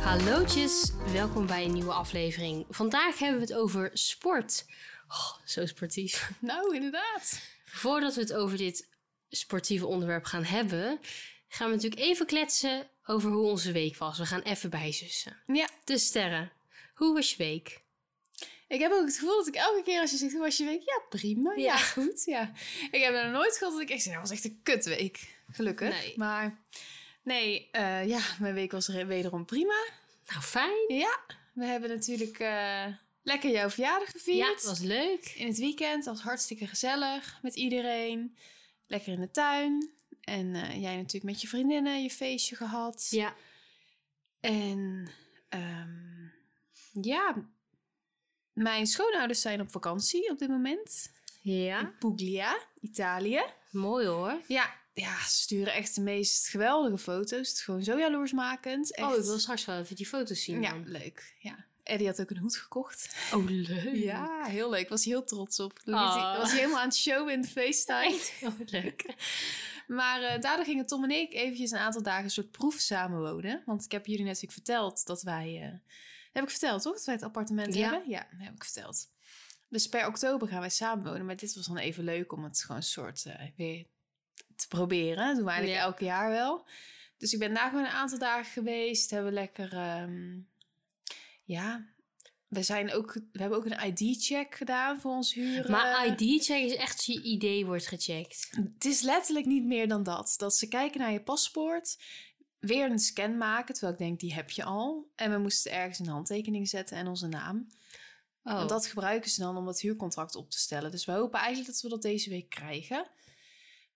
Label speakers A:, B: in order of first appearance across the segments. A: Hallootjes, welkom bij een nieuwe aflevering. Vandaag hebben we het over sport. Oh, zo sportief.
B: Nou, inderdaad.
A: Voordat we het over dit sportieve onderwerp gaan hebben, gaan we natuurlijk even kletsen over hoe onze week was. We gaan even bijzussen.
B: Ja,
A: Dus Sterren, hoe was je week?
B: Ik heb ook het gevoel dat ik elke keer als je zegt, hoe was je week? Ja, prima. Ja,
A: Ja.
B: goed. Ja. Ik heb er nooit gehad dat ik echt zeg, dat was echt een kutweek. Gelukkig.
A: Nee.
B: Maar nee, eh, ja, mijn week was er wederom prima.
A: Nou, fijn.
B: Ja, we hebben natuurlijk eh, lekker jouw verjaardag
A: Ja,
B: gevierd.
A: het was leuk.
B: In het weekend was hartstikke gezellig met iedereen. Lekker in de tuin. En eh, jij natuurlijk met je vriendinnen je feestje gehad.
A: Ja,
B: En ehm, ja, mijn schoonouders zijn op vakantie op dit moment.
A: ja.
B: In Puglia, Italië.
A: mooi hoor. Oh,
B: Ja, ja, ze sturen echt de meest geweldige foto's. Het is gewoon zo jaloersmakend. Echt.
A: Oh, ik wil straks wel even die foto's zien.
B: Ja,
A: dan.
B: leuk. Ja. Eddie had ook een hoed gekocht.
A: Oh, leuk.
B: Ja, heel leuk. Was hij heel trots op. Toen liet
A: Ah.
B: hij- was hij helemaal aan het showen in de feesttijd.
A: Oh, wat leuk.
B: Maar eh, daardoor gingen Tom en ik eventjes een aantal dagen een soort proef samenwonen. Want ik heb jullie natuurlijk verteld dat wij... eh, heb ik verteld, toch? Dat wij het appartement
A: Ja.
B: hebben? Ja, dat heb ik verteld. Dus per oktober gaan wij samenwonen. Maar dit was dan even leuk om het gewoon een soort eh, weer te proberen. Dat doen we eigenlijk
A: Ja.
B: elk jaar wel. Dus ik ben daar gewoon een aantal dagen geweest. Hebben lekker... ehm, ja... We, zijn ook, we hebben ook een ID-check gedaan voor ons huren.
A: Maar ID-check is echt je ID wordt gecheckt.
B: Het is letterlijk niet meer dan dat. Dat ze kijken naar je paspoort, weer een scan maken, terwijl ik denk, die heb je al. En we moesten ergens een handtekening zetten en onze naam.
A: Oh,
B: Want dat gebruiken ze dan om dat huurcontract op te stellen. Dus we hopen eigenlijk dat we dat deze week krijgen.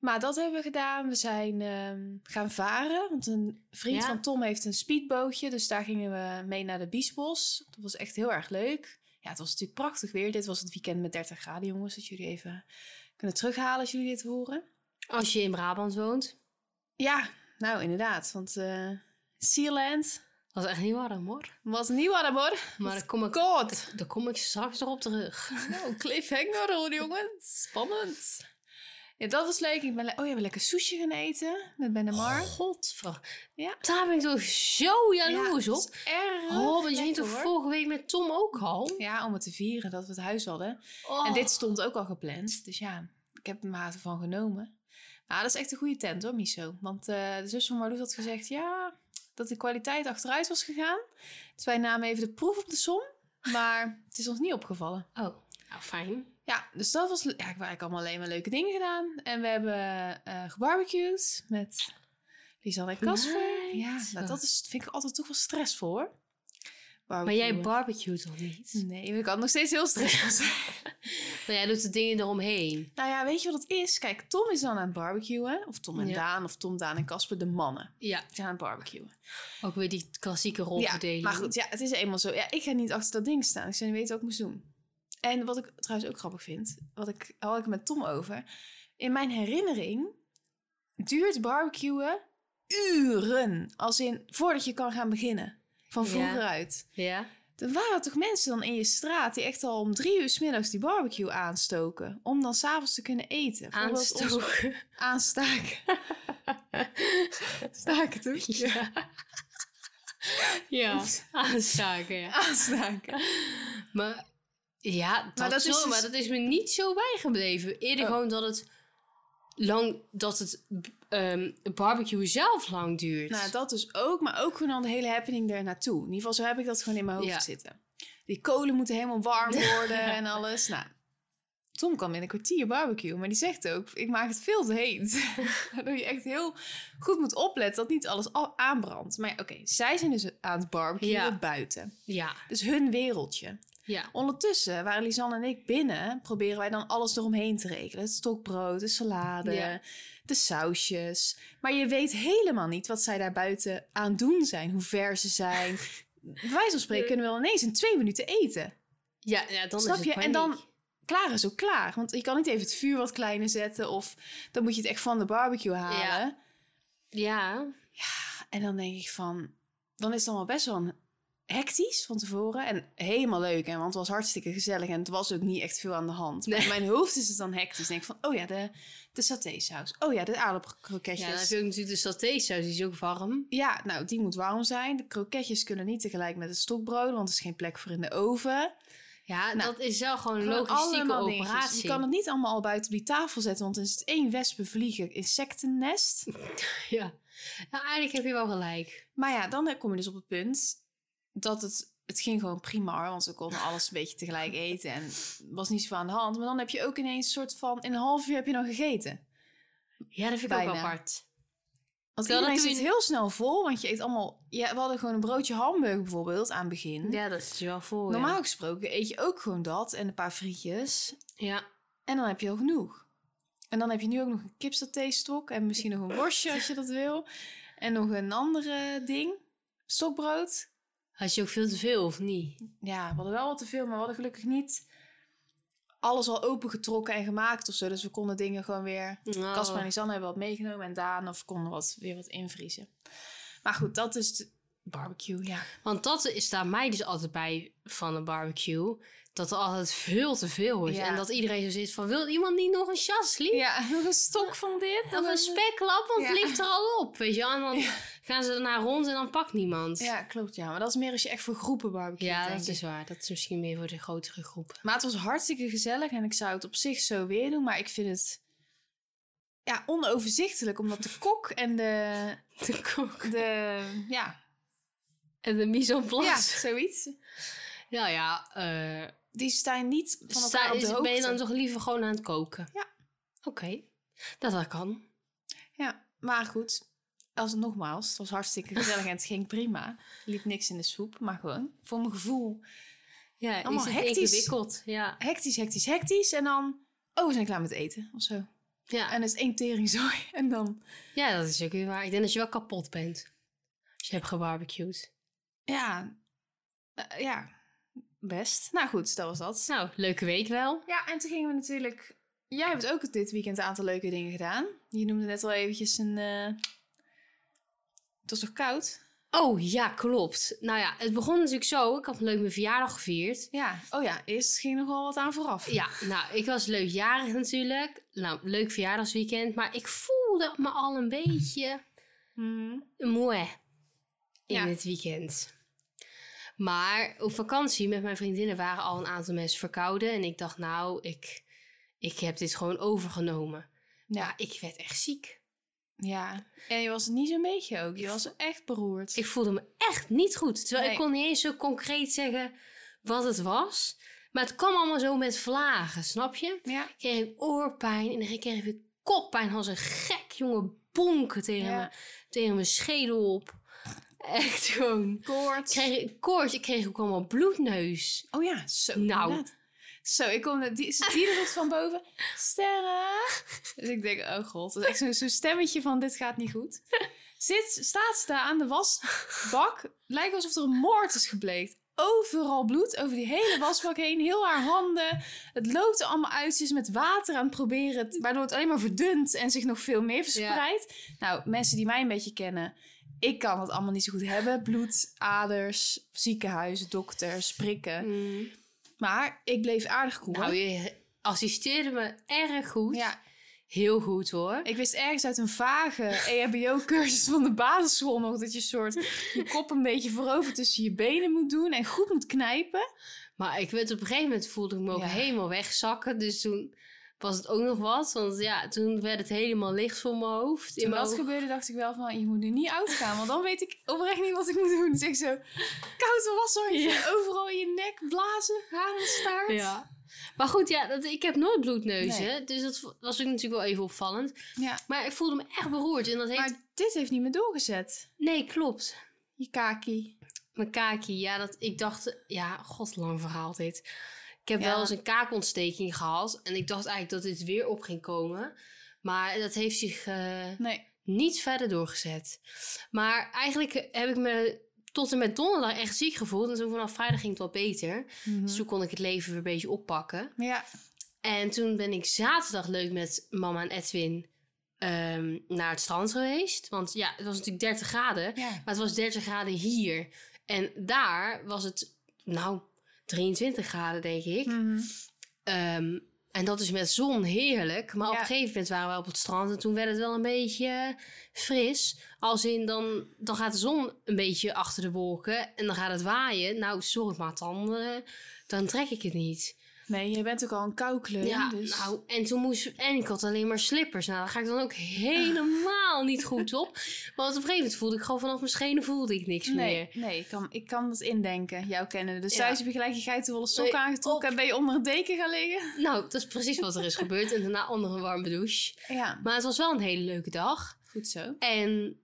B: Maar dat hebben we gedaan. We zijn ehm, gaan varen. Want een vriend
A: Ja.
B: van Tom heeft een speedbootje. Dus daar gingen we mee naar de Biesbos. Dat was echt heel erg leuk. Ja, het was natuurlijk prachtig weer. Dit was het weekend met 30 graden, jongens. Dat jullie even kunnen terughalen als jullie dit horen.
A: als je in Brabant woont,
B: Ja, nou inderdaad. Want eh Sealand
A: was echt niet warm hoor.
B: was niet wat hoor.
A: Maar daar kom, ik,
B: God!
A: daar kom ik straks nog op terug.
B: Nou, cliffhanger hoor, jongens. Spannend. Ja, dat was leuk. Ik ben le- oh, ja, we hebben lekker sushi gaan eten met Ben en Mar.
A: Oh. Godver.
B: Ja.
A: Daar ben ik toch zo jaloers
B: Ja,
A: op.
B: dat is Erg.
A: Oh, want je ging
B: lekker,
A: toch
B: hoor.
A: vorige week met Tom ook al?
B: Ja, om het te vieren dat we het huis hadden.
A: Oh.
B: En dit stond ook al gepland. Dus ja, ik heb hem haat ervan genomen. Maar dat is echt een goede tent hoor, Miso. Want eh, de zus van Marloes had gezegd, ja, dat de kwaliteit achteruit was gegaan. Dus wij namen even de proef op de som. Maar het is ons niet opgevallen.
A: Oh, nou fijn.
B: Ja, dus dat was... le- Ja, ik heb eigenlijk allemaal alleen maar leuke dingen gedaan. En we hebben eh gebarbecued met Lisanne en Casper.
A: Meid,
B: Ja, nou,
A: wat.
B: dat is, vind ik altijd toch wel stressvol hoor.
A: Maar jij
B: Barbecuen.
A: barbecue toch niet?
B: Nee, dat kan nog steeds heel stressvol zijn.
A: Maar jij doet de dingen eromheen.
B: Nou ja, weet je wat het is? Kijk, Tom is dan aan het barbecuen. Of Tom en
A: Ja.
B: Daan, of Tom, Daan en Casper, de mannen.
A: Ja,
B: Die zijn aan het barbecuen.
A: ook weer die klassieke
B: Ja,
A: rolverdeling.
B: maar goed, ja, het is eenmaal zo. Ja, ik ga niet achter dat ding staan. Ik zou niet weten wat ik moest doen. En wat ik trouwens ook grappig vind, wat ik, al had ik het met Tom over. In mijn herinnering duurt barbecuen uren. Als in, voordat je kan gaan beginnen. Van
A: Ja.
B: vroeger uit.
A: Ja?
B: Er waren toch mensen dan in je straat die echt al om drie uur 's middags die barbecue aanstoken. Om dan s'avonds te kunnen eten. Voorbeeld ons-
A: Aanstoken.
B: Aanstaken. Staken toch?
A: Ja. ja, aanstaken, ja.
B: Aanstaken.
A: Maar ja, dat,
B: dat
A: zo,
B: is dus-
A: maar dat is me niet zo bijgebleven. Eerder
B: Oh.
A: gewoon dat het lang, dat het ehm, barbecue zelf lang duurt.
B: Nou, dat dus ook, maar ook gewoon al de hele happening er naartoe. In ieder geval, zo heb ik dat gewoon in mijn hoofd
A: Ja.
B: zitten. Die kolen moeten helemaal warm worden en alles. Nou, Tom kan in een kwartier barbecue, maar die zegt ook: ik maak het veel te heet. Waardoor je echt heel goed moet opletten dat niet alles al- aanbrandt. Maar ja, oké, zij zijn dus aan het barbecuen
A: Ja.
B: buiten.
A: Ja,
B: Dus hun wereldje.
A: Ja.
B: Ondertussen waren Lisanne en ik binnen, proberen wij dan alles eromheen te rekenen. Het stokbrood, de salade,
A: Ja.
B: de sausjes. Maar je weet helemaal niet wat zij daar buiten aan het doen zijn, hoe ver ze zijn. Bij wijze van spreken kunnen we wel ineens in twee minuten eten.
A: Ja, ja dan
B: Snap
A: is het
B: je? En dan-
A: paniek.
B: Klaar is ook klaar, want je kan niet even het vuur wat kleiner zetten of dan moet je het echt van de barbecue halen.
A: Ja,
B: En dan denk ik van, dan is het allemaal best wel een- hectisch van tevoren. En helemaal leuk, hè, want het was hartstikke gezellig en het was ook niet echt veel aan de hand. Maar
A: Nee.
B: in mijn hoofd is het dan hectisch. Ik denk van, oh ja, de, de satésaus. Oh ja, de
A: ja, dan heb
B: aardappelkroketjes. Ja,
A: je ook natuurlijk de satésaus, die is ook warm.
B: nou, die moet warm zijn. De kroketjes kunnen niet tegelijk met het stokbrood, want er is geen plek voor in de oven.
A: Ja,
B: Nou,
A: dat is wel gewoon een
B: Gewoon
A: logistieke
B: allemaal dingetjes.
A: operatie.
B: Je kan het niet allemaal al buiten op die tafel zetten, want dan is het één wespenvliegen insectennest.
A: Ja. Nou, eigenlijk heb je wel gelijk.
B: Maar ja, dan kom je dus op het punt dat het... Het ging gewoon prima hoor, want we konden alles een beetje tegelijk eten. En er was niet zoveel aan de hand. Maar dan heb je ook ineens een soort van... In een half uur heb je dan gegeten.
A: Ja, dat vind ik ook
B: Bijna.
A: apart.
B: Want
A: Terwijl
B: iedereen
A: dat doe
B: zit
A: je-
B: heel snel vol, want je eet allemaal... Ja, we hadden gewoon een broodje hamburger bijvoorbeeld aan het begin.
A: Ja, dat is wel vol. ja.
B: Hm? Normaal gesproken eet je ook gewoon dat en een paar frietjes.
A: Ja.
B: En dan heb je al genoeg. En dan heb je nu ook nog een kipsaté-stok en misschien nog een worstje als je dat wil. En nog een andere ding. Stokbrood.
A: Had je ook veel te veel, of niet?
B: ja, we hadden wel wat te veel, maar we hadden gelukkig niet alles al opengetrokken en gemaakt of zo. Dus we konden dingen gewoon weer.
A: Nou,
B: Casper en Lisanne hebben wat meegenomen en Daan of konden wat, weer wat invriezen. Maar goed, dat is de barbecue, ja.
A: Want dat is daar mij dus altijd bij van een barbecue. Dat er altijd veel te veel is.
B: Ja.
A: En dat iedereen zo zit van, wil iemand niet nog een chasli?
B: Ja, nog een stok van dit.
A: Of een speklap, want het
B: Ja.
A: ligt er al op, weet je wel. En dan gaan ze daarna rond en dan pakt niemand.
B: Ja, klopt, ja. Maar dat is meer als je echt voor groepen barbecue
A: Ja, dat is waar. Dat is misschien meer voor de grotere groepen.
B: Maar het was hartstikke gezellig en ik zou het op zich zo weer doen, maar ik vind het... Ja, onoverzichtelijk, omdat de kok en de...
A: De kok.
B: de ja,
A: En de mise en
B: ja,
A: place.
B: zoiets.
A: Nou ja, eh,
B: Die staan niet van elkaar
A: sta,
B: op de
A: is,
B: hoogte.
A: ben je dan toch liever gewoon aan het koken?
B: Ja.
A: Oké, dat, dat kan.
B: Ja, maar goed. Als, nogmaals, het was hartstikke gezellig en het ging prima. Er liep niks in de soep, maar gewoon voor mijn gevoel.
A: Ja,
B: Allemaal
A: is het
B: hectisch.
A: ingewikkeld. Ja.
B: Hectisch, hectisch, hectisch. En dan, oh, we zijn klaar met eten of zo.
A: Ja.
B: En het is één teringzooi. En dan,
A: ja, dat is ook weer waar. Ik denk dat je wel kapot bent. Als je hebt gebarbecued.
B: ja, eh, ja, best. Nou goed, dat was dat.
A: Nou, leuke week wel.
B: Ja, en toen gingen we natuurlijk... Jij hebt ook dit weekend een aantal leuke dingen gedaan. Je noemde net al eventjes een... eh, Het was toch koud?
A: Oh ja, klopt. Nou ja, het begon natuurlijk zo. Ik had leuk mijn verjaardag gevierd.
B: Ja. Oh ja, eerst ging nogal wat aan vooraf.
A: Ja, nou, ik was leukjarig natuurlijk. Nou, leuk verjaardagsweekend. Maar ik voelde me al een beetje
B: Mhm.
A: moe in
B: Ja.
A: het weekend. Maar op vakantie met mijn vriendinnen waren al een aantal mensen verkouden. En ik dacht, nou, ik, ik heb dit gewoon overgenomen. Ja,
B: Ja,
A: ik werd echt ziek.
B: ja. En je was niet zo'n beetje ook. Je was echt beroerd.
A: Ik voelde me echt niet goed. Terwijl ik
B: Nee.
A: kon niet eens zo concreet zeggen wat het was. Maar het kwam allemaal zo met vlagen, snap je?
B: ja.
A: kreeg ik oorpijn en dan kreeg ik weer koppijn als een gek jonge bonken tegen,
B: Ja.
A: me, tegen mijn schedel op. Echt gewoon.
B: Koorts.
A: Kreeg ik koorts, ik kreeg ook allemaal bloedneus.
B: Oh ja, zo.
A: Nou.
B: inderdaad. Zo, ik kom die, zit die er van boven. Sterren. Dus ik denk, oh god. Dat is echt zo'n zo'n stemmetje van, dit gaat niet goed. Zit, staat ze daar aan de wasbak. Lijkt alsof er een moord is gebleekt. Overal bloed, over die hele wasbak heen. Heel haar handen. Het loopt er allemaal uit. Ze is met water aan het proberen. het- Waardoor het alleen maar verdunt en zich nog veel meer verspreidt. Nou, mensen die mij een beetje kennen. Ik kan het allemaal niet zo goed hebben. Bloed, aders, ziekenhuizen, dokters, prikken. Maar ik bleef aardig cool.
A: Mm. Nou, je assisteerde me erg goed.
B: ja,
A: Heel goed hoor.
B: ik wist ergens uit een vage E EHBO-cursus van de basisschool nog dat je soort je kop een beetje voorover tussen je benen moet doen en goed moet knijpen.
A: Maar ik werd op een gegeven moment voelde ik me ook
B: Ja.
A: helemaal wegzakken. Dus toen was het ook nog wat. Want ja, toen werd het helemaal licht voor mijn hoofd. in
B: Toen
A: mijn
B: dat
A: ogen.
B: gebeurde dacht ik wel van je moet nu niet oud gaan, want dan weet ik oprecht niet wat ik moet doen. Dus ik zo koud washandje, overal in je nek, blazen, haar en staart.
A: Ja. Maar goed, ja, dat, ik heb nooit bloedneuzen.
B: Nee.
A: Dus dat v- was ook natuurlijk wel even opvallend.
B: Ja.
A: Maar ik voelde me echt beroerd. En dat heeft...
B: Maar dit heeft niet meer doorgezet.
A: Nee, klopt.
B: Je kaki.
A: Mijn kaakje, ja, dat, ik dacht, ja, godslang verhaal dit. Ik heb
B: Ja.
A: wel eens een kaakontsteking gehad en ik dacht eigenlijk dat dit weer op ging komen. Maar dat heeft zich eh,
B: Nee.
A: niet verder doorgezet. Maar eigenlijk heb ik me tot en met donderdag echt ziek gevoeld. En toen vanaf vrijdag ging het wel beter. Dus toen kon ik het leven weer een beetje oppakken.
B: Mhm. Ja.
A: En toen ben ik zaterdag leuk met mama en Edwin ehm, naar het strand geweest. Want ja, het was natuurlijk 30 graden.
B: ja.
A: Maar het was 30 graden hier. En daar was het, nou, 23 graden, denk ik.
B: Hmm. Mhm.
A: Ehm, en dat is met zon heerlijk. Maar op
B: Ja.
A: een gegeven moment waren we op het strand en toen werd het wel een beetje eh, fris. Als in, dan, dan gaat de zon een beetje achter de wolken en dan gaat het waaien. Nou, sorry, maar dan, eh, dan trek ik het niet.
B: Nee, je bent ook al een koukleun.
A: ja,
B: dus... Ah.
A: nou, en toen moest... En ik had alleen maar slippers. Nou, daar ga ik dan ook helemaal niet goed op. Want op een gegeven moment voelde ik gewoon vanaf mijn schenen voelde ik niks meer.
B: Nee, nee ik, kan, ik kan dat indenken, jou kennen. Dus
A: Ja.
B: thuis heb je gelijk je geitenwolle sok
A: Nee,
B: aangetrokken en ben je onder een deken gaan liggen.
A: Nou, dat is precies wat er is gebeurd. En daarna onder een warme douche.
B: Ja,
A: Maar het was wel een hele leuke dag.
B: goed zo.
A: En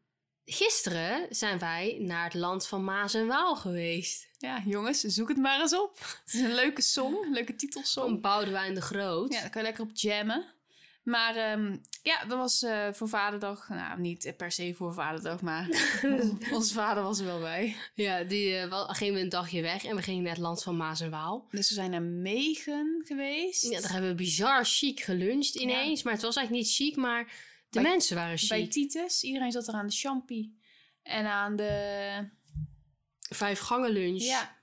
A: gisteren zijn wij naar het land van Maas en Waal geweest.
B: Ja, jongens, zoek het maar eens op. Het is een leuke song, een leuke titelsong.
A: Van Boudewijn de Groot.
B: Oh. Ja, daar kan je lekker op jammen. Maar ehm, ja, dat was eh, voor vaderdag. Nou, niet per se voor vaderdag, maar onze vader was er wel bij.
A: Ja, die eh, wel, gingen we een dagje weg en we gingen naar het land van Maas en Waal.
B: Dus we zijn naar Megen geweest.
A: Ja, daar hebben we bizar chic geluncht ineens. Maar het was eigenlijk niet chic, maar de
B: Bij-
A: mensen waren
B: bij
A: chic.
B: Titus. Iedereen zat er aan de champie. En aan de
A: Vijf gangen lunch.
B: ja,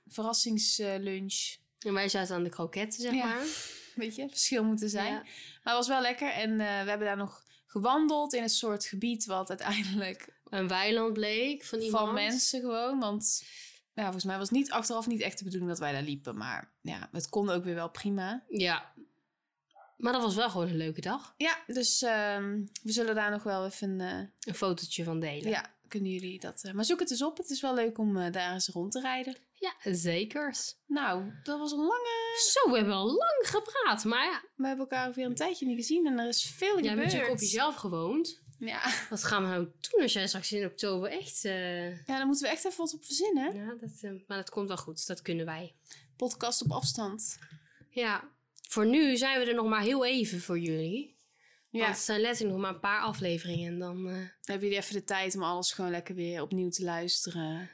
B: verrassingslunch.
A: En wij zaten aan de kroketten, zeg
B: Ja.
A: maar.
B: Weet je, verschil moeten zijn.
A: Ja.
B: Maar het was wel lekker. En eh, we hebben daar nog gewandeld in een soort gebied wat uiteindelijk
A: Een weiland bleek van iemand.
B: van mensen gewoon. Want ja, volgens mij was het niet achteraf niet echt de bedoeling dat wij daar liepen. Maar ja, het kon ook weer wel prima.
A: Ja. Maar dat was wel gewoon een leuke dag.
B: Ja, dus ehm, we zullen daar nog wel even... eh,
A: Een fotootje van delen.
B: ja, kunnen jullie dat... eh, maar zoek het eens op. Het is wel leuk om eh, daar eens rond te rijden.
A: ja zekers.
B: Nou, dat was een lange...
A: Zo, we hebben al lang gepraat, maar ja,
B: We hebben elkaar weer een tijdje niet gezien en er is veel
A: jij hebt
B: gebeurd.
A: natuurlijk op jezelf gewoond.
B: ja.
A: Wat gaan we nou doen als jij straks in oktober echt... eh,
B: ja, daar moeten we echt even wat op verzinnen.
A: ja, dat, eh, maar dat komt wel goed, dat kunnen wij.
B: Podcast op afstand.
A: Ja, voor nu zijn we er nog maar heel even voor jullie. Want het zijn letterlijk nog maar een paar afleveringen en dan eh,
B: Dan hebben jullie even de tijd om alles gewoon lekker weer opnieuw te luisteren.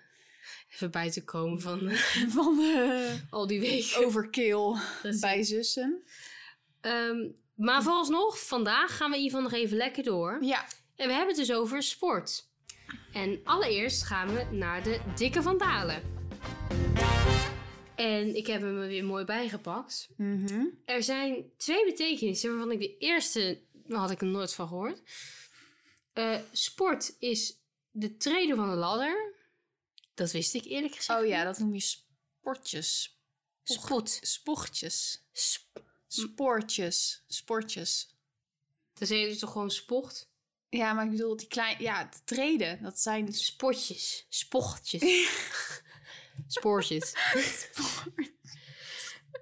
A: even bij te komen van eh,
B: Van eh,
A: al die weken.
B: overkill
A: Precies.
B: bij zussen.
A: Ehm, maar vooralsnog, vandaag gaan we in ieder geval nog even lekker door.
B: Ja,
A: En we hebben het dus over sport. En allereerst gaan we naar de Dikke van Dalen. En ik heb hem er weer mooi bijgepakt.
B: mhm.
A: Er zijn twee betekenissen waarvan ik de eerste daar had ik er nooit van gehoord. Eh, sport is de treden van de ladder. Dat wist ik eerlijk gezegd.
B: Oh ja, dat noem je sportjes.
A: niet. sport.
B: Sportjes.
A: Sp-
B: Sportjes. Sportjes.
A: dan zeg je dus toch gewoon sport?
B: Ja, maar ik bedoel, die klein... Ja, de treden. Dat zijn dus-
A: Sportjes. Sportjes. Sportjes.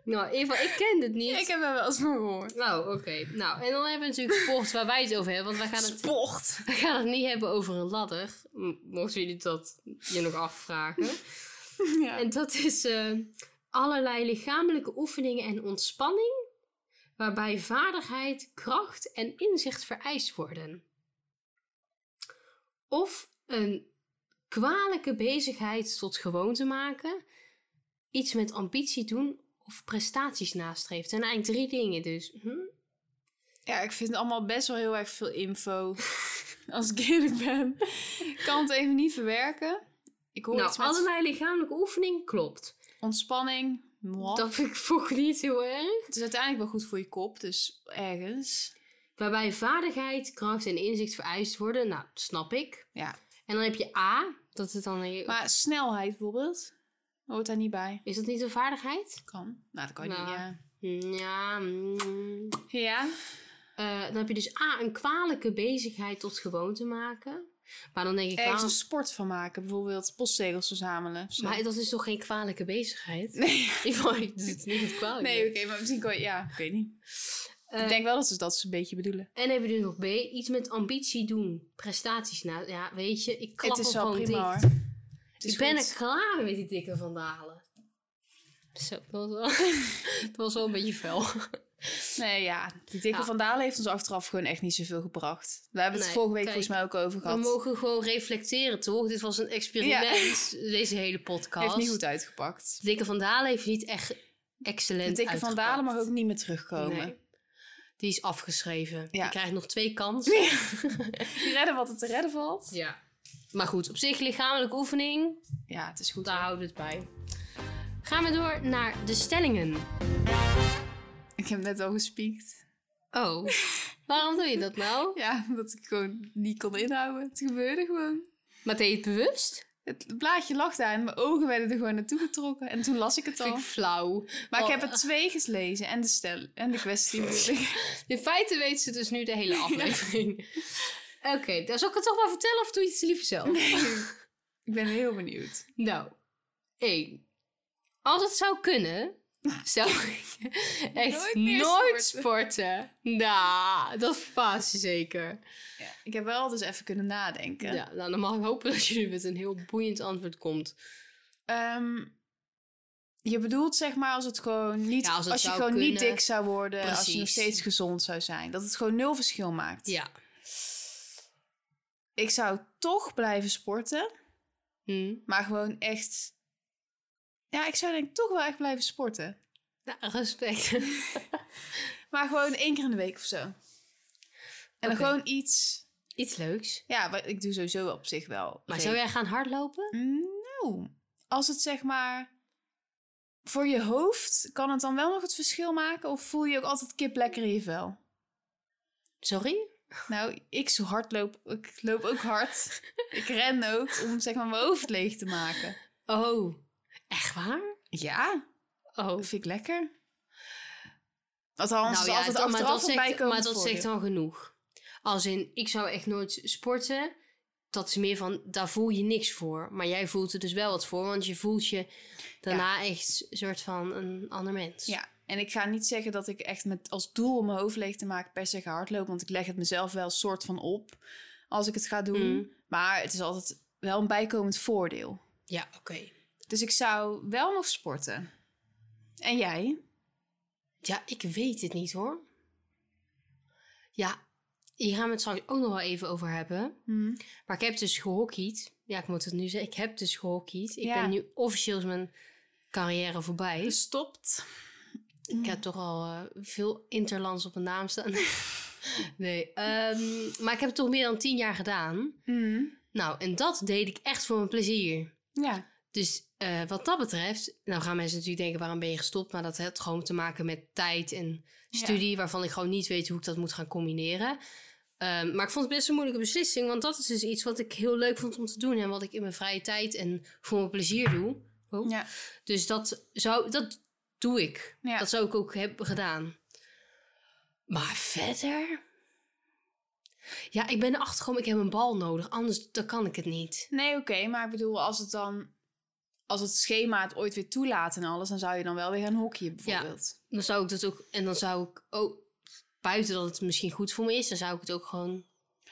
A: Nou, in ieder geval, ik ken het niet.
B: Ik heb er wel eens van gehoord.
A: Nou, oké. Nou, en dan hebben we natuurlijk sport waar wij het over hebben. Want wij gaan het,
B: Sport.
A: wij gaan het niet hebben over een ladder. M- Mochten jullie dat je nog afvragen.
B: Ja.
A: En dat is eh, allerlei lichamelijke oefeningen en ontspanning. Waarbij vaardigheid, kracht en inzicht vereist worden. Of een kwalijke bezigheid tot gewoonte maken. Iets met ambitie doen of prestaties nastreeft. En eigenlijk drie dingen dus. Hm?
B: Ja, ik vind allemaal best wel heel erg veel info. Als ik eerlijk ben. Ik kan het even niet verwerken. Ik hoor
A: Nou,
B: iets met
A: allerlei lichamelijke oefening klopt.
B: ontspanning. mwah.
A: Dat vind ik vroeger niet heel erg.
B: Het is uiteindelijk wel goed voor je kop, dus ergens.
A: Waarbij vaardigheid, kracht en inzicht vereist worden. Nou, dat snap ik.
B: Ja.
A: En dan heb je A. Dat het dan...
B: Maar snelheid bijvoorbeeld, hoort daar niet bij.
A: Is dat niet een vaardigheid?
B: Kan. Nou, dat kan
A: Nou.
B: niet, ja.
A: Ja. mm.
B: Ja?
A: Eh, dan heb je dus A. Een kwalijke bezigheid tot gewoonte maken. Maar dan denk ik...
B: Ergens
A: waarom-
B: een sport van maken, bijvoorbeeld postzegels verzamelen. of zo.
A: Maar dat is toch geen kwalijke bezigheid?
B: Nee,
A: Ik vond het niet het kwalijk.
B: nee oké, maar misschien kan je... Ja, ik weet niet.
A: Eh,
B: ik denk wel dat ze dat ze een beetje bedoelen.
A: En dan heb je dus nog B. Iets met ambitie doen. Prestaties na... Ja, weet je. Ik klap
B: Het is
A: er
B: wel
A: gewoon
B: prima
A: dicht.
B: hoor.
A: Ik ben
B: goed.
A: er klaar mee met die dikke vandalen. Zo, dat was wel, dat was wel een beetje fel.
B: Nee, ja. Die dikke
A: Ja.
B: Van Dalen heeft ons achteraf gewoon echt niet zoveel gebracht. We hebben het
A: Nee,
B: vorige week
A: kijk,
B: volgens mij ook over
A: We
B: gehad.
A: mogen gewoon reflecteren, toch? Dit was een experiment, deze hele podcast.
B: Heeft niet goed uitgepakt.
A: Dikke van Dalen heeft niet echt
B: De
A: excellent
B: dikke Van Dalen mag ook niet meer terugkomen.
A: Nee. Die is afgeschreven.
B: Ja.
A: Die krijgt nog twee kansen.
B: Die redden wat er te redden valt.
A: Ja. Maar goed, op zich lichamelijke oefening,
B: Ja, het is goed.
A: daar houden we het bij. Gaan we door naar de stellingen.
B: Ik heb net al gespiekt.
A: Oh, waarom doe je dat nou?
B: Ja, omdat ik gewoon niet kon inhouden. Het gebeurde gewoon.
A: Maar deed je het bewust?
B: Het blaadje lag daar en mijn ogen werden er gewoon naartoe getrokken. En toen las ik het
A: Vind
B: al.
A: ik flauw.
B: Maar ik
A: Oh,
B: heb er twee gelezen en de, stel en de kwestie. natuurlijk.
A: In feite weet ze dus nu de hele aflevering. Oké, dan zal ik het toch maar vertellen of doe je het liever zelf?
B: ik ben heel benieuwd.
A: Nou, één. Als het zou kunnen, zou ik echt
B: Nooit
A: nooit,
B: meer
A: sporten. Nou, dat verbaast je zeker.
B: Ja, ik heb wel dus even kunnen nadenken.
A: Ja, nou, dan mag ik hopen dat je nu met een heel boeiend antwoord komt.
B: Ehm, je bedoelt zeg maar als het gewoon niet,
A: Ja,
B: als,
A: als het
B: je
A: zou
B: gewoon niet
A: kunnen.
B: dik zou worden, als je nog
A: Precies.
B: steeds gezond zou zijn, dat het gewoon nul verschil maakt.
A: Ja.
B: Ik zou toch blijven sporten,
A: Hm.
B: maar gewoon echt, ja, ik zou denk ik toch wel echt blijven sporten,
A: Nou, respect.
B: maar gewoon één keer in de week of zo. En dan
A: Oké.
B: gewoon iets,
A: Iets leuks.
B: ja, wat ik doe sowieso wel op zich wel.
A: Maar
B: regelmatig.
A: zou jij gaan hardlopen?
B: Nou, als het zeg maar voor je hoofd, kan het dan wel nog het verschil maken? Of voel je ook altijd kip lekker in je vel?
A: Sorry?
B: Nou, ik zo hard loop, ik loop ook hard. ik ren ook om zeg maar mijn hoofd leeg te maken.
A: Oh, echt waar?
B: Ja,
A: Oh.
B: dat vind ik lekker. Althans,
A: Nou
B: nou,
A: ja,
B: altijd
A: dat- maar
B: achteraf
A: dat
B: erbij
A: zegt-
B: komen.
A: Maar dat zegt dan genoeg. Als in, ik zou echt nooit sporten. Dat is meer van, daar voel je niks voor. Maar jij voelt er dus wel wat voor. Want je voelt je daarna echt een soort van een ander mens.
B: Ja, en ik ga niet zeggen dat ik echt met als doel om mijn hoofd leeg te maken per se ga hardlopen. Want ik leg het mezelf wel soort van op als ik het ga doen.
A: Mm.
B: Maar het is altijd wel een bijkomend voordeel.
A: Ja, oké.
B: Dus ik zou wel nog sporten. En jij?
A: Ja, ik weet het niet hoor. Ja, hier gaan we het straks ook nog wel even over hebben. Maar ik heb dus gehockeyd. Ja, ik moet het nu zeggen. Ik heb dus gehockeyd. Ik
B: Ja.
A: ben nu officieel is mijn carrière voorbij.
B: Gestopt.
A: Ik heb toch al eh, veel interlands op mijn naam staan. nee. ehm, maar ik heb het toch meer dan tien jaar gedaan. Nou, en dat deed ik echt voor mijn plezier.
B: Ja.
A: Dus eh, wat dat betreft, nou gaan mensen natuurlijk denken, waarom ben je gestopt? Maar dat heeft gewoon te maken met tijd en studie, waarvan ik gewoon niet weet hoe ik dat moet gaan combineren. Ehm, maar ik vond het best een moeilijke beslissing, want dat is dus iets wat ik heel leuk vond om te doen en wat ik in mijn vrije tijd en voor mijn plezier doe. Oh.
B: Ja.
A: Dus dat, zou, dat doe ik.
B: Ja.
A: Dat zou ik ook hebben gedaan. Maar verder. Ja, ik ben erachter gekomen, ik heb een bal nodig, anders dan kan ik het niet.
B: Nee, oké, maar ik bedoel, als het dan. Als het schema het ooit weer toelaat en alles, dan zou je dan wel weer gaan hockeyen, bijvoorbeeld.
A: Dan zou ik dat ook, en dan zou ik ook, buiten dat het misschien goed voor me is, dan zou ik het ook gewoon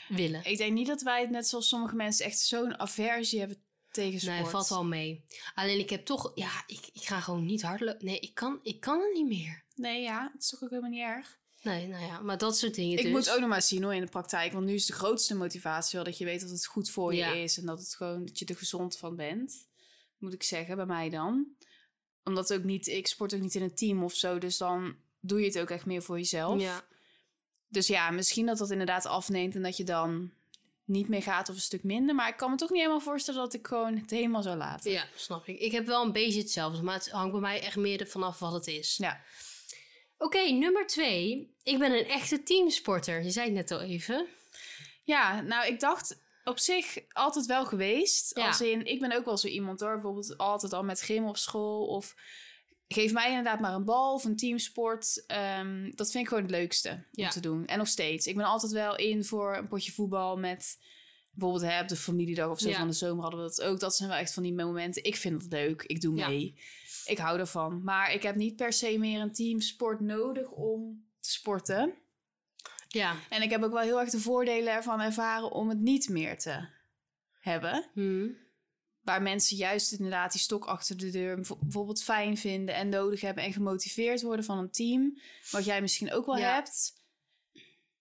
A: willen.
B: Ik denk niet dat wij het net zoals sommige mensen echt zo'n aversie hebben tegen sport.
A: Nee, valt wel mee. Alleen ik heb toch, ja, ik, ik ga gewoon niet hardlopen. Nee, ik kan, ik kan het niet meer.
B: Nee, ja, het is toch ook helemaal niet erg.
A: Nee, nou ja, maar dat soort dingen.
B: Ik
A: dus.
B: moet ook nog maar zien hoor in de praktijk, want nu is de grootste motivatie wel dat je weet dat het goed voor je
A: Ja.
B: is en dat het gewoon dat je er gezond van bent. Moet ik zeggen, bij mij dan. Omdat ook niet, ik sport ook niet in een team of zo, dus dan doe je het ook echt meer voor jezelf.
A: Ja,
B: Dus ja, misschien dat dat inderdaad afneemt en dat je dan niet meer gaat of een stuk minder. Maar ik kan me toch niet helemaal voorstellen dat ik gewoon het helemaal zou laten.
A: ja, snap ik. Ik heb wel een beetje hetzelfde, maar het hangt bij mij echt meer ervan af wat het is.
B: Ja.
A: Oké, nummer twee. Ik ben een echte teamsporter. Je zei het net al even.
B: Ja, nou, ik dacht op zich altijd wel geweest.
A: Ja.
B: Als in, ik ben ook wel zo iemand hoor. Bijvoorbeeld altijd al met gym op school. Of geef mij inderdaad maar een bal of een teamsport. Ehm, dat vind ik gewoon het leukste om
A: Ja.
B: te doen. En nog steeds. Ik ben altijd wel in voor een potje voetbal met... Bijvoorbeeld hè, op de familiedag of zo
A: Ja.
B: van de zomer hadden we dat ook. Dat zijn wel echt van die momenten. Ik vind het leuk. Ik doe
A: Ja.
B: mee. Ik hou ervan. Maar ik heb niet per se meer een teamsport nodig om te sporten.
A: Ja.
B: En ik heb ook wel heel erg de voordelen ervan ervaren om het niet meer te hebben.
A: Hmm.
B: Waar mensen juist inderdaad die stok achter de deur bijvo- bijvoorbeeld fijn vinden en nodig hebben en gemotiveerd worden van een team. Wat jij misschien ook wel
A: Ja.
B: hebt.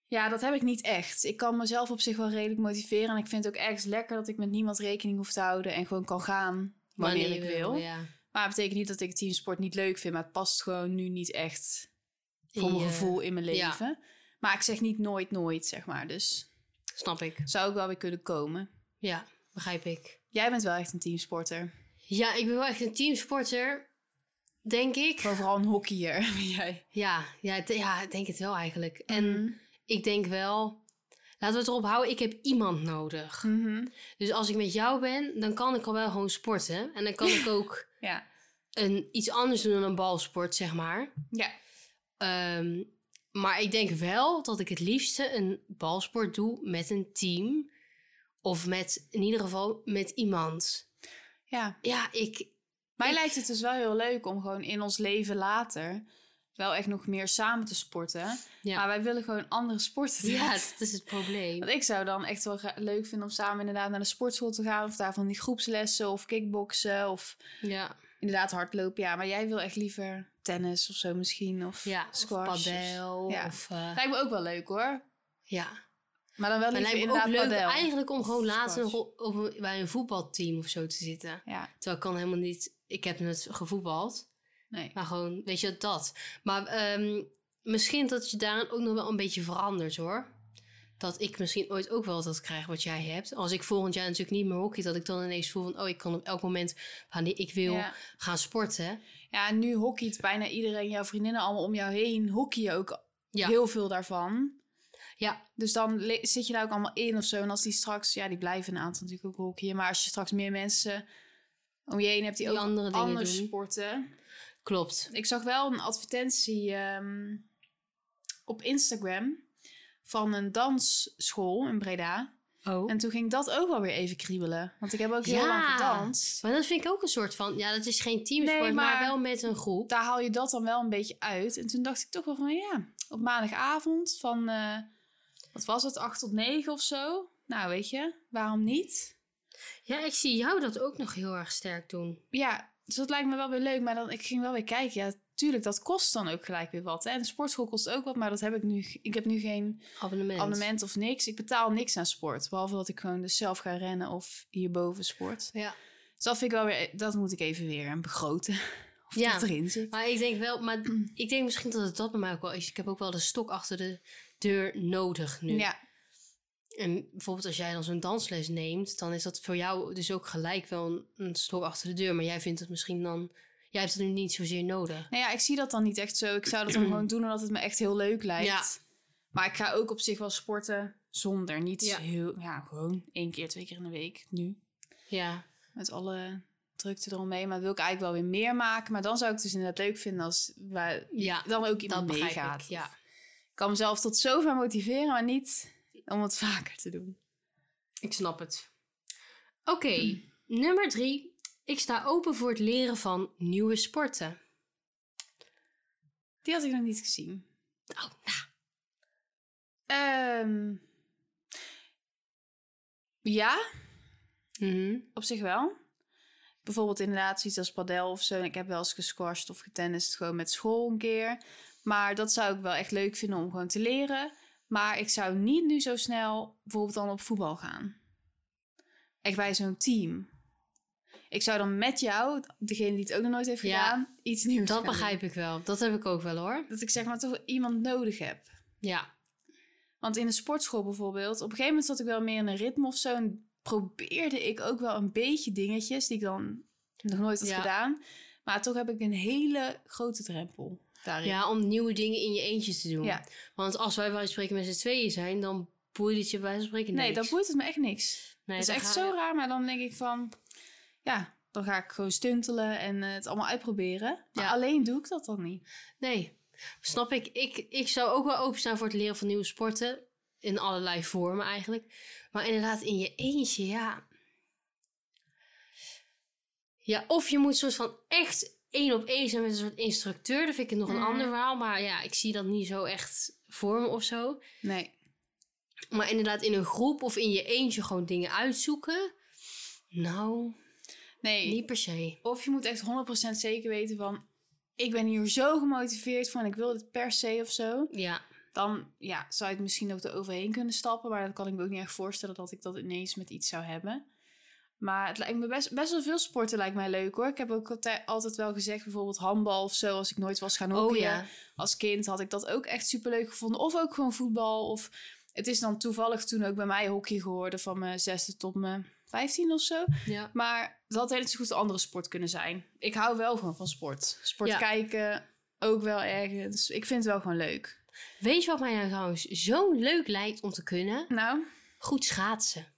B: Ja, dat heb ik niet echt. Ik kan mezelf op zich wel redelijk motiveren. En ik vind het ook ergens lekker dat ik met niemand rekening hoef te houden en gewoon kan gaan wanneer,
A: je
B: ik wil.
A: Ja.
B: Maar het betekent niet dat ik teamsport niet leuk vind, maar het past gewoon nu niet echt voor mijn
A: Ja.
B: gevoel in mijn
A: ja.
B: leven. Maar ik zeg niet nooit, nooit, zeg maar. Dus
A: Snap ik.
B: zou ik wel weer kunnen komen.
A: Ja, begrijp ik.
B: Jij bent wel echt een teamsporter.
A: Ja, ik ben wel echt een teamsporter, denk ik.
B: Gewoon vooral een hockeyer ben jij.
A: Ja, ja, ik de- ja, ik denk het wel eigenlijk.
B: Mhm.
A: En ik denk wel, laten we het erop houden, ik heb iemand nodig.
B: Mhm.
A: Dus als ik met jou ben, dan kan ik al wel gewoon sporten. En dan kan ik ook
B: Ja.
A: een, iets anders doen dan een balsport, zeg maar.
B: Ja.
A: Ehm, maar ik denk wel dat ik het liefste een balsport doe met een team. Of met, in ieder geval met iemand.
B: ja.
A: Ja, ik...
B: Mij
A: Ik-
B: lijkt het dus wel heel leuk om gewoon in ons leven later wel echt nog meer samen te sporten.
A: Ja.
B: Maar wij willen gewoon andere sporten. doen.
A: Ja, dat is het probleem.
B: Want ik zou dan echt wel gra- leuk vinden om samen inderdaad naar de sportschool te gaan. Of daar van die groepslessen of kickboksen of
A: Ja,
B: inderdaad hardlopen. Ja, maar jij wil echt liever tennis of zo misschien. Of
A: ja.
B: squash.
A: Of padel.
B: Ja.
A: Of, eh,
B: Lijkt me ook wel leuk hoor.
A: ja.
B: Maar dan wel
A: Maar
B: liever
A: lijkt me ook
B: inderdaad
A: leuk
B: padel.
A: eigenlijk om
B: Of
A: gewoon later nog
B: squash.
A: op, op een- bij een voetbalteam of zo te zitten.
B: Ja,
A: Terwijl ik kan helemaal niet... Ik heb net gevoetbald.
B: nee.
A: Maar gewoon, weet je, dat. Maar ehm, misschien dat je daarin ook nog wel een beetje verandert, hoor. Dat ik misschien ooit ook wel dat krijg wat jij hebt. Als ik volgend jaar natuurlijk niet meer hockey, dat ik dan ineens voel van... oh, ik kan op elk moment wanneer ik wil
B: Ja.
A: gaan sporten.
B: Ja, nu hockeyt bijna iedereen, jouw vriendinnen allemaal om jou heen, hockeyen ook
A: Ja.
B: heel veel daarvan.
A: Ja.
B: Dus dan le- zit je daar ook allemaal in of zo. En als die straks, ja, die blijven een aantal natuurlijk ook hockeyen. Maar als je straks meer mensen om je heen hebt die,
A: Die
B: ook
A: andere dingen
B: anders
A: doen.
B: sporten.
A: Klopt.
B: Ik zag wel een advertentie ehm, op Instagram van een dansschool in Breda.
A: Oh.
B: En toen ging dat ook wel weer even kriebelen. Want ik heb ook heel
A: Ja.
B: lang gedanst.
A: Maar dat vind ik ook een soort van... Ja, dat is geen teamsport,
B: Nee,
A: maar...
B: maar-
A: wel met een groep.
B: daar haal je dat dan wel een beetje uit. En toen dacht ik toch wel van ja, op maandagavond van eh, wat was het, 8 tot 9 of zo. Nou, weet je, waarom niet?
A: Ja, ik zie jou dat ook nog heel erg sterk doen.
B: Ja, dus dat lijkt me wel weer leuk. Maar dan, ik ging wel weer kijken. Ja, tuurlijk, dat kost dan ook gelijk weer wat. Hè? En de sportschool kost ook wat, maar dat heb ik nu. Ik heb nu geen
A: Abonnement.
B: abonnement of niks. Ik betaal niks aan sport. Behalve dat ik gewoon dus zelf ga rennen of hierboven sport.
A: Ja.
B: Dus dat vind ik wel weer, dat moet ik even weer eh, begroten. Of
A: Ja.
B: dat erin zit.
A: Maar ik denk wel, maar ik denk misschien dat het dat bij mij ook wel is. Ik heb ook wel de stok achter de deur nodig nu.
B: Ja,
A: En bijvoorbeeld als jij dan zo'n dansles neemt, dan is dat voor jou dus ook gelijk wel een, een stok achter de deur. Maar jij vindt het misschien dan, jij hebt het nu niet zozeer nodig.
B: Nou ja, ik zie dat dan niet echt zo. Ik zou dat dan gewoon doen omdat het me echt heel leuk lijkt.
A: Ja.
B: Maar ik ga ook op zich wel sporten zonder. Niet
A: Ja.
B: heel... Ja, gewoon één keer, twee keer in de week nu.
A: Ja,
B: Met alle drukte eromheen. Maar dat wil ik eigenlijk wel weer meer maken. Maar dan zou ik het dus inderdaad leuk vinden als waar
A: ja
B: dan ook
A: dat
B: iemand
A: begrijp
B: meegaat.
A: ik. Ja.
B: Ik kan mezelf tot zover motiveren, maar niet om het vaker te doen.
A: Ik snap het. Oké,
B: Hm.
A: nummer drie. Ik sta open voor het leren van nieuwe sporten.
B: Die had ik nog niet gezien.
A: Oh,
B: Ehm, ja,
A: nou. Mhm.
B: Op zich wel. Bijvoorbeeld inderdaad zoiets als padel of zo. En Ik heb wel eens gesquashed of getennist gewoon met school een keer. Maar dat zou ik wel echt leuk vinden om gewoon te leren. Maar ik zou niet nu zo snel bijvoorbeeld dan op voetbal gaan. Echt bij zo'n team. Ik zou dan met jou, degene die het ook nog nooit heeft
A: Ja,
B: gedaan, iets nieuws
A: Dat
B: gaan doen.
A: begrijp ik wel. Dat heb ik ook wel hoor.
B: Dat ik zeg maar toch iemand nodig heb.
A: Ja,
B: Want in de sportschool bijvoorbeeld, op een gegeven moment zat ik wel meer in een ritme of zo. En probeerde ik ook wel een beetje dingetjes die ik dan nog nooit had
A: Ja.
B: gedaan. Maar toch heb ik een hele grote drempel daarin.
A: Ja, om nieuwe dingen in je eentje te doen.
B: Ja.
A: Want als wij bij spreken met z'n tweeën zijn, dan boeit het je bij wijze van spreken
B: nee,
A: niks.
B: dat boeit het me echt niks. dat
A: Nee,
B: is
A: dan
B: echt
A: ga
B: zo
A: je-
B: raar. Maar dan denk ik van, ja, dan ga ik gewoon stuntelen en eh, het allemaal uitproberen. Maar
A: Ja.
B: alleen doe ik dat dan niet.
A: Nee, snap ik. ik. Ik zou ook wel openstaan voor het leren van nieuwe sporten. In allerlei vormen eigenlijk. Maar inderdaad, in je eentje, ja. Ja, of je moet soort van echt één op één zijn met een soort instructeur. Dat vind ik nog een
B: Mhm.
A: ander verhaal. Maar ja, ik zie dat niet zo echt voor me of zo.
B: Nee.
A: Maar inderdaad, in een groep of in je eentje gewoon dingen uitzoeken. Nou,
B: Nee.
A: Niet per se.
B: Of je moet echt 100% zeker weten van... Ik ben hier zo gemotiveerd van, ik wil dit per se of zo.
A: Ja.
B: Dan ja, zou je het misschien ook eroverheen kunnen stappen. Maar dat kan ik me ook niet echt voorstellen dat ik dat ineens met iets zou hebben. Maar het lijkt me best, best wel veel sporten lijkt mij leuk hoor. Ik heb ook altijd, altijd wel gezegd, bijvoorbeeld handbal of zo. Als ik nooit was gaan hockeyen.
A: Oh ja.
B: Als kind had ik dat ook echt superleuk gevonden. Of ook gewoon voetbal. Of het is dan toevallig toen ook bij mij hockey geworden. Van mijn zesde tot mijn vijftien of zo.
A: ja.
B: Maar dat had net zo goed een andere sport kunnen zijn. Ik hou wel gewoon van sport. Sport
A: Ja.
B: kijken, ook wel ergens. Ik vind het wel gewoon leuk.
A: Weet je wat mij nou trouwens zo leuk lijkt om te kunnen?
B: Nou,
A: Goed schaatsen.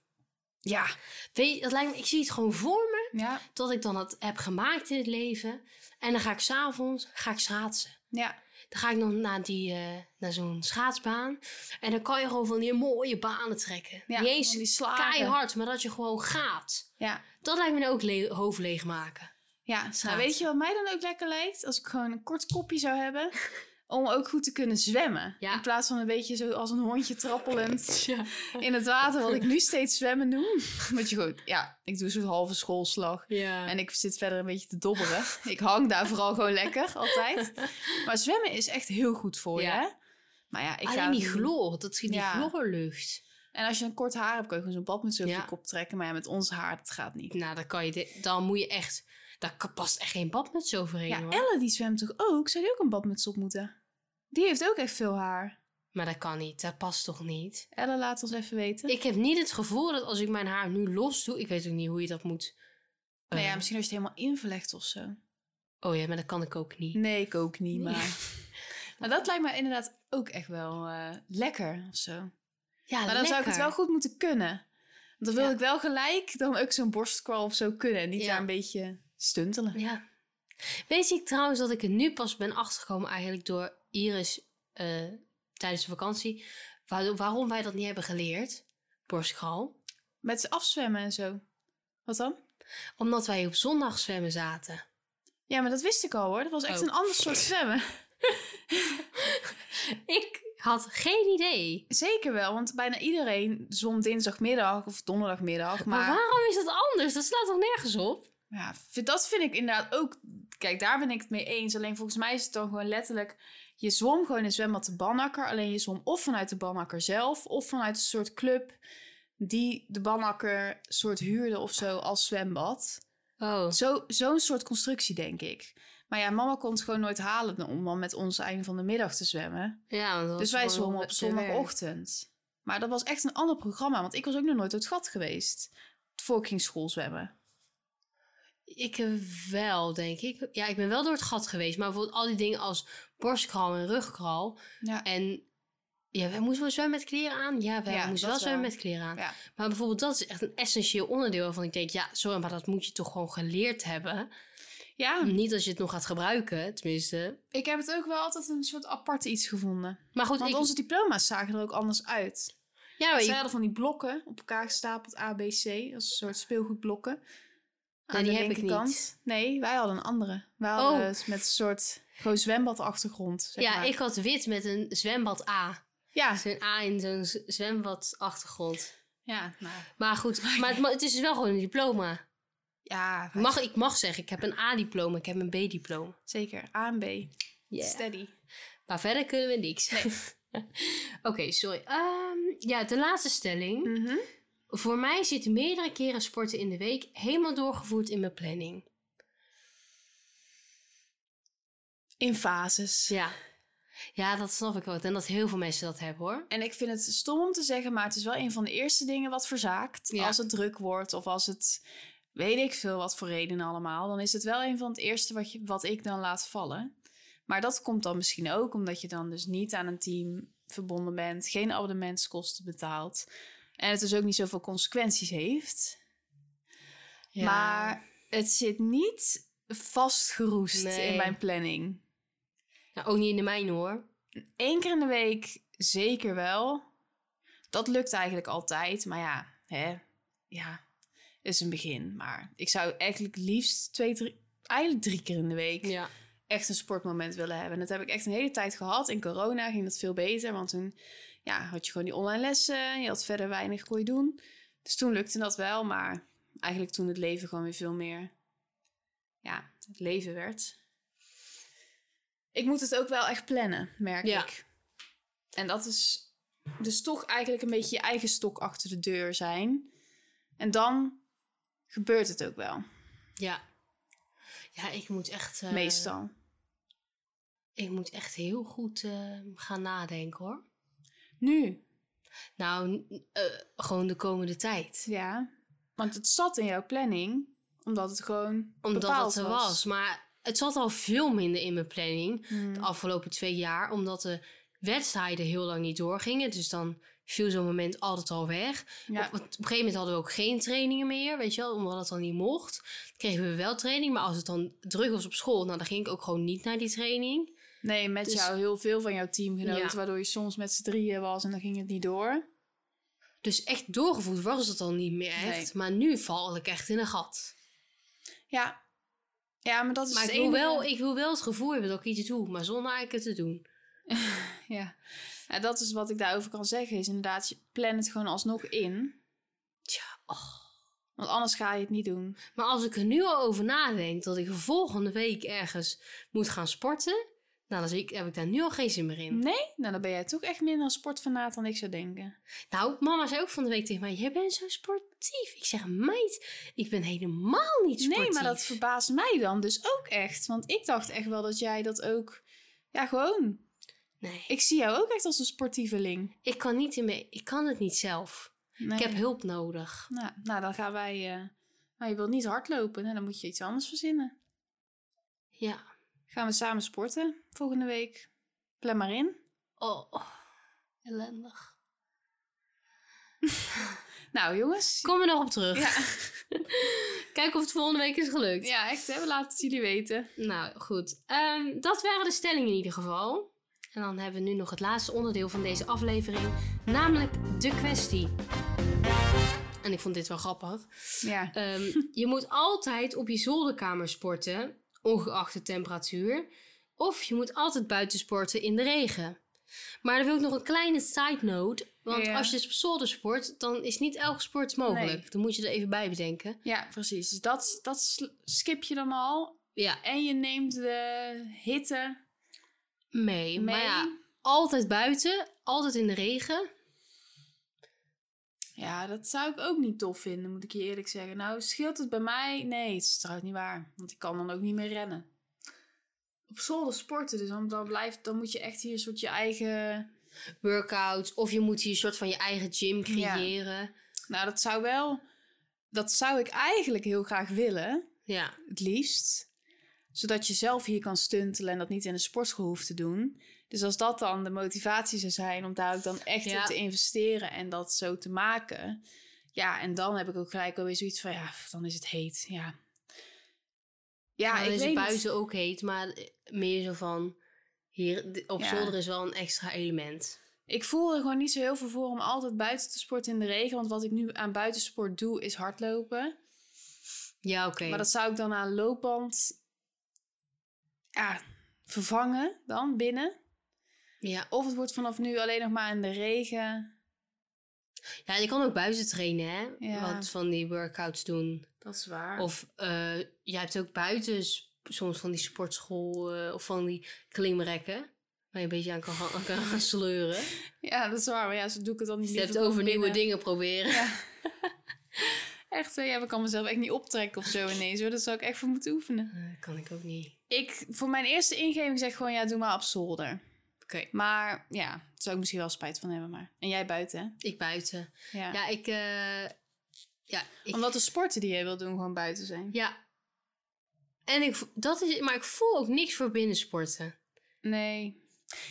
B: ja.
A: Weet je, dat lijkt me, ik zie het gewoon voor me
B: Ja,
A: dat ik dan dat heb gemaakt in het leven. En dan ga ik s'avonds ga ik schaatsen.
B: ja.
A: Dan ga ik nog naar, die, eh, naar zo'n schaatsbaan. En dan kan je gewoon van die mooie banen trekken.
B: ja.
A: Niet eens
B: van die slagen.
A: keihard, maar dat je gewoon gaat.
B: Ja.
A: Dat lijkt me nou ook le- hoofd leegmaken.
B: Ja, nou,
A: Schaats.
B: weet je wat mij dan ook lekker lijkt? Als ik gewoon een kort kopje zou hebben. Om ook goed te kunnen zwemmen.
A: Ja.
B: In plaats van een beetje zo als een hondje trappelend
A: Ja.
B: in het water. Wat ik nu steeds zwemmen noem. Want je gewoon, ja, ik doe zo'n halve schoolslag.
A: Ja.
B: En ik zit verder een beetje te dobberen. ik hang daar vooral gewoon lekker, altijd. Maar zwemmen is echt heel goed voor je,
A: Ja.
B: hè? Maar ja, ik ga...
A: Alleen die chloor, dat die
B: Ja.
A: chloorlucht.
B: En als je een kort haar hebt, kun je gewoon zo'n badmuts over
A: Ja.
B: je kop trekken. Maar ja, met ons haar, dat gaat niet.
A: Nou, dan, kan je de- dan moet je echt... Daar ka- past echt geen badmuts overheen,
B: Ja,
A: hoor.
B: Elle die zwemt toch ook? Zou die ook een badmuts op moeten? Die heeft ook echt veel haar.
A: Maar dat kan niet. Dat past toch niet?
B: Elle, laat ons even weten.
A: Ik heb niet het gevoel dat als ik mijn haar nu los doe... Ik weet ook niet hoe je dat moet... eh,
B: Nou ja, misschien als je het helemaal inverlegt of zo.
A: Oh ja, maar dat kan ik ook niet.
B: Nee, ik ook niet,
A: Nee.
B: maar... Maar dat lijkt me inderdaad ook echt wel eh, lekker of zo.
A: Ja,
B: Maar dan zou ik het wel goed moeten kunnen. Dan wil
A: Ja.
B: ik wel gelijk dan ook zo'n borstcrawl of zo kunnen. En niet
A: Ja.
B: daar een beetje stuntelen.
A: Ja. Weet je trouwens dat ik er nu pas ben achtergekomen eigenlijk door Iris eh, tijdens de vakantie... waardoor- waarom wij dat niet hebben geleerd, borstcrawl?
B: Met afzwemmen en zo. Wat dan?
A: Omdat wij op zondag zwemmen zaten.
B: Ja, maar dat wist ik al hoor. Dat was echt
A: Oh.
B: een ander soort zwemmen.
A: Ik had geen idee.
B: Zeker wel, want bijna iedereen zwom dinsdagmiddag of donderdagmiddag.
A: Maar,
B: Maar,
A: waarom is dat anders? Dat slaat toch nergens op?
B: ja, vind- dat vind ik inderdaad ook... Kijk, daar ben ik het mee eens. Alleen volgens mij is het dan gewoon letterlijk... Je zwom gewoon in zwembad de Banakker. Alleen je zwom of vanuit de Banakker zelf... of vanuit een soort club die de Banakker soort huurde of zo als zwembad.
A: Oh.
B: Zo- Zo'n soort constructie, denk ik. Maar ja, mama kon het gewoon nooit halen om dan met ons einde van de middag te zwemmen.
A: Ja, want dat
B: Dus
A: was
B: wij
A: gewoon
B: zwommen op
A: te werk.
B: zondagochtend. Maar dat was echt een ander programma, want ik was ook nog nooit uit het gat geweest. Voor ik ging school zwemmen.
A: Ik eh, wel, denk ik. Ja, ik ben wel door het gat geweest. Maar bijvoorbeeld al die dingen als borstkral en rugkral.
B: Ja.
A: En ja, wij moesten wel zwemmen met kleren aan. Ja, wij
B: Ja,
A: moesten
B: dat
A: wel zwemmen
B: wel.
A: met kleren aan.
B: Ja.
A: Maar bijvoorbeeld dat is echt een essentieel onderdeel waarvan ik denk... Ja, sorry, maar dat moet je toch gewoon geleerd hebben.
B: ja,
A: Niet als je het nog gaat gebruiken, tenminste.
B: ik heb het ook wel altijd een soort apart iets gevonden.
A: Maar goed,
B: Want
A: ik...
B: onze diploma's zagen er ook anders uit.
A: ja, maar ik-
B: Ze hadden van die blokken op elkaar gestapeld, A, B, C. Als een soort speelgoedblokken. Aan
A: die
B: de
A: heb ik
B: linkerkant.
A: niet. Oh.
B: Nee, wij hadden een andere. Wij hadden het met een soort gewoon zwembadachtergrond. Zeg
A: ja
B: maar.
A: ik had wit met een zwembad A.
B: Ja,
A: Zo'n A Ah, in zo'n z- zwembadachtergrond.
B: ja, nou,
A: Maar goed, maar het, ma- het is wel gewoon een diploma.
B: ja
A: Ik Mag, ik mag zeggen, ik heb een A-diploma, ik heb een B-diploma.
B: zeker. A en B.
A: Yeah.
B: Steady.
A: Maar verder kunnen we niks. Oké, sorry. Ehm, ja, de laatste stelling. Voor mij zitten meerdere keren sporten in de week helemaal doorgevoerd in mijn planning.
B: In fases.
A: Ja. Ja, dat snap ik wel. En dat heel veel mensen dat hebben hoor.
B: En ik vind het stom om te zeggen, maar het is wel een van de eerste dingen wat verzaakt.
A: Ja.
B: Als het druk wordt of als het weet ik veel wat voor redenen allemaal. Dan is het wel een van het eerste wat, je, wat ik dan laat vallen. Maar dat komt dan misschien ook omdat je dan dus niet aan een team verbonden bent. Geen abonnementskosten betaalt. En het dus ook niet zoveel consequenties heeft.
A: Ja.
B: Maar het zit niet vastgeroest
A: Nee.
B: in mijn planning.
A: Nou, ook niet in de mijne hoor.
B: Eén keer in de week zeker wel. Dat lukt eigenlijk altijd. Maar ja, hè, ja, is een begin. Maar ik zou eigenlijk liefst twee, drie, eigenlijk drie keer in de week
A: Ja.
B: echt een sportmoment willen hebben. En dat heb ik echt een hele tijd gehad. In corona ging dat veel beter, want toen ja, had je gewoon die online lessen. Je had verder weinig kon je doen. Dus toen lukte dat wel, maar eigenlijk toen het leven gewoon weer veel meer ja, het leven werd. Ik moet het ook wel echt plannen, merk
A: Ja.
B: ik. En dat is dus toch eigenlijk een beetje je eigen stok achter de deur zijn. En dan gebeurt het ook wel,
A: Ja. Ja, ik moet echt... eh,
B: meestal.
A: Ik moet echt heel goed eh, gaan nadenken, hoor.
B: Nu,
A: Nou, n- eh, gewoon de komende tijd.
B: ja. Want het zat in jouw planning, omdat het gewoon
A: Omdat
B: bepaald
A: het er was. Maar het zat al veel minder in mijn planning
B: Hmm.
A: de afgelopen twee jaar. Omdat de wedstrijden heel lang niet doorgingen. Dus dan viel zo'n moment altijd al weg.
B: Ja.
A: Op, op een gegeven moment hadden we ook geen trainingen meer. Weet je wel, omdat het dan niet mocht. Dan kregen we wel training. Maar als het dan druk was op school, nou, dan ging ik ook gewoon niet naar die training.
B: Nee, met
A: Dus-
B: jou heel veel van jouw teamgenoten,
A: Ja.
B: waardoor je soms met z'n drieën was en dan ging het niet door.
A: Dus echt doorgevoerd was het al niet meer
B: Nee.
A: echt. Maar nu val ik echt in een gat.
B: Ja, ja maar dat is
A: Maar
B: het
A: ik wil,
B: enige-
A: wel, ik wil wel het gevoel hebben dat ik iets doe, maar zonder eigenlijk het te doen.
B: Ja. ja, dat is wat ik daarover kan zeggen. Is inderdaad, je plan het gewoon alsnog in.
A: Tja, och.
B: Want anders ga je het niet doen.
A: Maar als ik er nu al over nadenk dat ik volgende week ergens moet gaan sporten, nou, dan zie ik, heb ik daar nu al geen zin meer in.
B: Nee? Nou, dan ben jij toch echt minder een sportfanaat dan ik zou denken.
A: Nou, mama zei ook van de week tegen mij: Jij bent zo sportief. Ik zeg: Meid, ik ben helemaal niet sportief.
B: Nee, maar dat verbaast mij dan dus ook echt. Want ik dacht echt wel dat jij dat ook... Ja, gewoon.
A: Nee, ik,
B: Ik zie jou ook echt als een sportieveling. Nou,
A: ik, kan niet in me, ik kan het niet zelf.
B: Nee.
A: Ik heb hulp nodig.
B: Nou, nou, dan gaan wij... eh, Maar je wilt niet hardlopen. Nou, dan moet je iets anders verzinnen.
A: Ja.
B: Gaan we samen sporten volgende week. Plan maar in.
A: Oh, oh. ellendig.
B: Nou, jongens.
A: Kom er nog op terug.
B: Ja.
A: Kijk of het volgende week is gelukt.
B: ja, echt. Hè? We laten het jullie weten.
A: Nou goed, Ehm, dat waren de stellingen in ieder geval. En dan hebben we nu nog het laatste onderdeel van deze aflevering, namelijk de kwestie. En ik vond dit wel grappig.
B: Ja.
A: Ehm, je moet altijd op je zolderkamer sporten, ongeacht de temperatuur. Of je moet altijd buiten sporten in de regen. Maar dan wil ik nog een kleine side note. Want
B: Ja.
A: als je op zolder sport, dan is niet elke sport mogelijk.
B: Nee.
A: Dan moet je er even bij bedenken.
B: Ja, precies. Dus dat, dat sl- skip je dan al.
A: Ja,
B: En je neemt de hitte mee.
A: mee. Maar ja,
B: ja.
A: altijd buiten, altijd in de regen.
B: dat zou ik ook niet tof vinden, moet ik je eerlijk zeggen. Nou, scheelt het bij mij? Nee, het is trouwens niet waar. Want ik kan dan ook niet meer rennen. Op zolder sporten, dus dan, dan, blijft, dan moet je echt hier een soort je eigen...
A: workouts. Of je moet hier een soort van je eigen gym creëren.
B: Nou, dat zou wel... Dat zou ik eigenlijk heel graag willen,
A: Ja.
B: het liefst. Zodat je zelf hier kan stuntelen en dat niet in een sportschool hoeft te doen. Dus als dat dan de motivatie zou zijn om daar ook dan echt
A: Ja.
B: in te investeren en dat zo te maken. Ja, en dan heb ik ook gelijk alweer zoiets van, ja, pff, dan is het heet, ja. Ja,
A: dan
B: ik
A: is
B: weet
A: het
B: niet.
A: buiten ook heet, maar eh, meer zo van... Hier, d- op
B: Ja.
A: zolder is wel een extra element.
B: Ik voel er gewoon niet zo heel veel voor om altijd buiten te sporten in de regen. Want wat ik nu aan buitensport doe, is hardlopen.
A: Ja, oké.
B: Maar dat zou ik dan aan loopband ja, vervangen dan binnen.
A: Ja.
B: Of het wordt vanaf nu alleen nog maar in de regen.
A: ja, je kan ook buiten trainen, hè?
B: Ja.
A: Wat van die workouts doen.
B: Dat is waar.
A: Of eh je hebt ook buiten s- soms van die sportschool... eh, of van die klimrekken. Waar je een beetje aan kan, gaan- kan gaan sleuren.
B: Ja, dat is waar. Maar ja, zo doe ik het dan niet
A: Dus je hebt
B: liever
A: over
B: binnen.
A: nieuwe dingen proberen.
B: Ja. echt, hè, ja, ik kan mezelf echt niet optrekken of zo ineens. Hoor. Daar zou ik echt voor moeten oefenen.
A: Eh, kan ik ook niet.
B: Ik, voor mijn eerste ingeving zeg ik gewoon, ja, doe maar op zolder.
A: Oké.
B: Maar ja, daar zou ik misschien wel spijt van hebben. Maar. En jij buiten, hè?
A: Ik buiten.
B: Ja.
A: Ja, ik... eh, ja, ik
B: Omdat de sporten die jij wil doen gewoon buiten zijn.
A: Ja. En ik, vo- dat is, maar ik voel ook niks voor binnensporten.
B: Nee.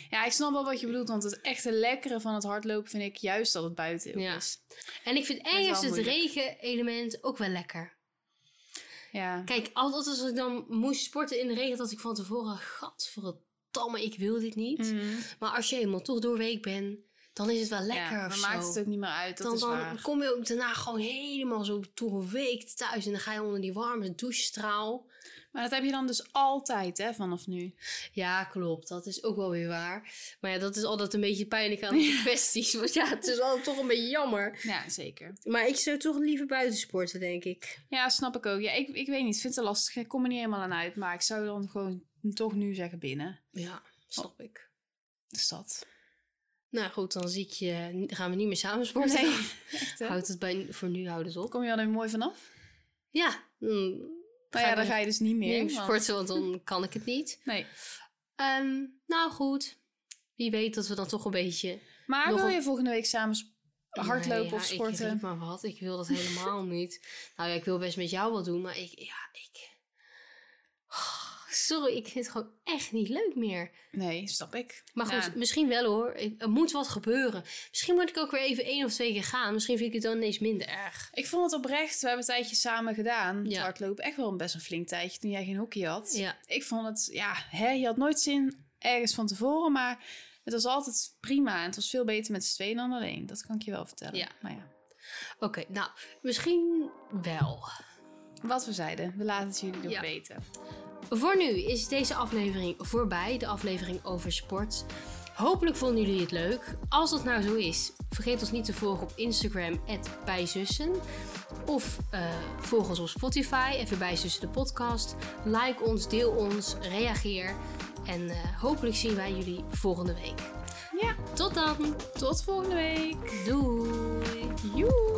B: Ja, ik snap wel wat je bedoelt. Want het echte lekkere van het hardlopen vind ik juist dat het buiten ook
A: Ja.
B: is.
A: En ik vind
B: is wel
A: ergens het
B: moeilijk.
A: regen-element ook wel lekker.
B: Ja.
A: Kijk, altijd als ik dan moest sporten in de regen, dat ik van tevoren, gadverdamme, ik wil dit niet.
B: Mhm.
A: Maar als je helemaal toch doorweek bent, dan is het wel
B: Ja,
A: lekker of
B: dan
A: zo.
B: maakt het ook niet meer uit. Dat
A: dan,
B: is
A: dan
B: waar.
A: kom je ook daarna gewoon helemaal zo toegeweekt thuis. En dan ga je onder die warme douchestraal.
B: Maar dat heb je dan dus altijd, hè, vanaf nu.
A: Ja, klopt. Dat is ook wel weer waar. Maar ja, dat is altijd een beetje pijnlijk aan die kwesties. Want ja, het is altijd toch een beetje jammer.
B: Ja, zeker.
A: Maar ik zou toch liever buiten sporten, denk ik.
B: Ja, snap ik ook. Ja, ik, ik weet niet. Ik vind het lastig. Ik kom er niet helemaal aan uit. Maar ik zou dan gewoon toch nu zeggen binnen.
A: Ja, snap
B: Oh.
A: ik.
B: Dus dat.
A: Nou goed, dan zie ik je. Gaan we niet meer samen sporten?
B: Nee, echt, hè?
A: Houdt het bij, voor nu houdt het op.
B: Kom je dan weer mooi vanaf?
A: Ja, dan
B: Nou ja, dan ga je dus niet meer.
A: niet meer
B: want-
A: sporten, want dan kan ik het niet.
B: Nee.
A: Ehm, nou goed, wie weet dat we dan toch een beetje
B: Maar
A: Nog
B: wil
A: een-
B: je volgende week samen sp- hardlopen
A: Nee, ja,
B: of sporten?
A: Ik riep maar wat, ik wil dat helemaal niet. Nou ja, ik wil best met jou wat doen, maar ik, ja, ik... Oh, Sorry, ik vind het gewoon echt niet leuk meer.
B: Nee, snap ik.
A: Maar goed,
B: Ja.
A: misschien wel hoor. Ik- er moet wat gebeuren. Misschien moet ik ook weer even één of twee keer gaan. Misschien vind ik het dan ineens minder erg.
B: Ik vond het oprecht. We hebben een tijdje samen gedaan.
A: Ja.
B: Het hardlopen. Echt wel een best een flink tijdje toen jij geen hockey had.
A: Ja,
B: Ik vond het, ja, hè, je had nooit zin ergens van tevoren, maar het was altijd prima. En het was veel beter met z'n tweeën dan alleen. Dat kan ik je wel vertellen.
A: Ja.
B: Maar ja,
A: oké. nou, misschien wel.
B: wat we zeiden, we laten het jullie nog
A: Ja.
B: weten.
A: Voor nu is deze aflevering voorbij, de aflevering over sport. Hopelijk vonden jullie het leuk. Als dat nou zo is, vergeet ons niet te volgen op Instagram, bijzussen. Of eh, volg ons op Spotify, even bijzussen de podcast. Like ons, deel ons, reageer. En eh, hopelijk zien wij jullie volgende week.
B: Ja,
A: Tot dan,
B: tot volgende week.
A: doei!
B: Joe.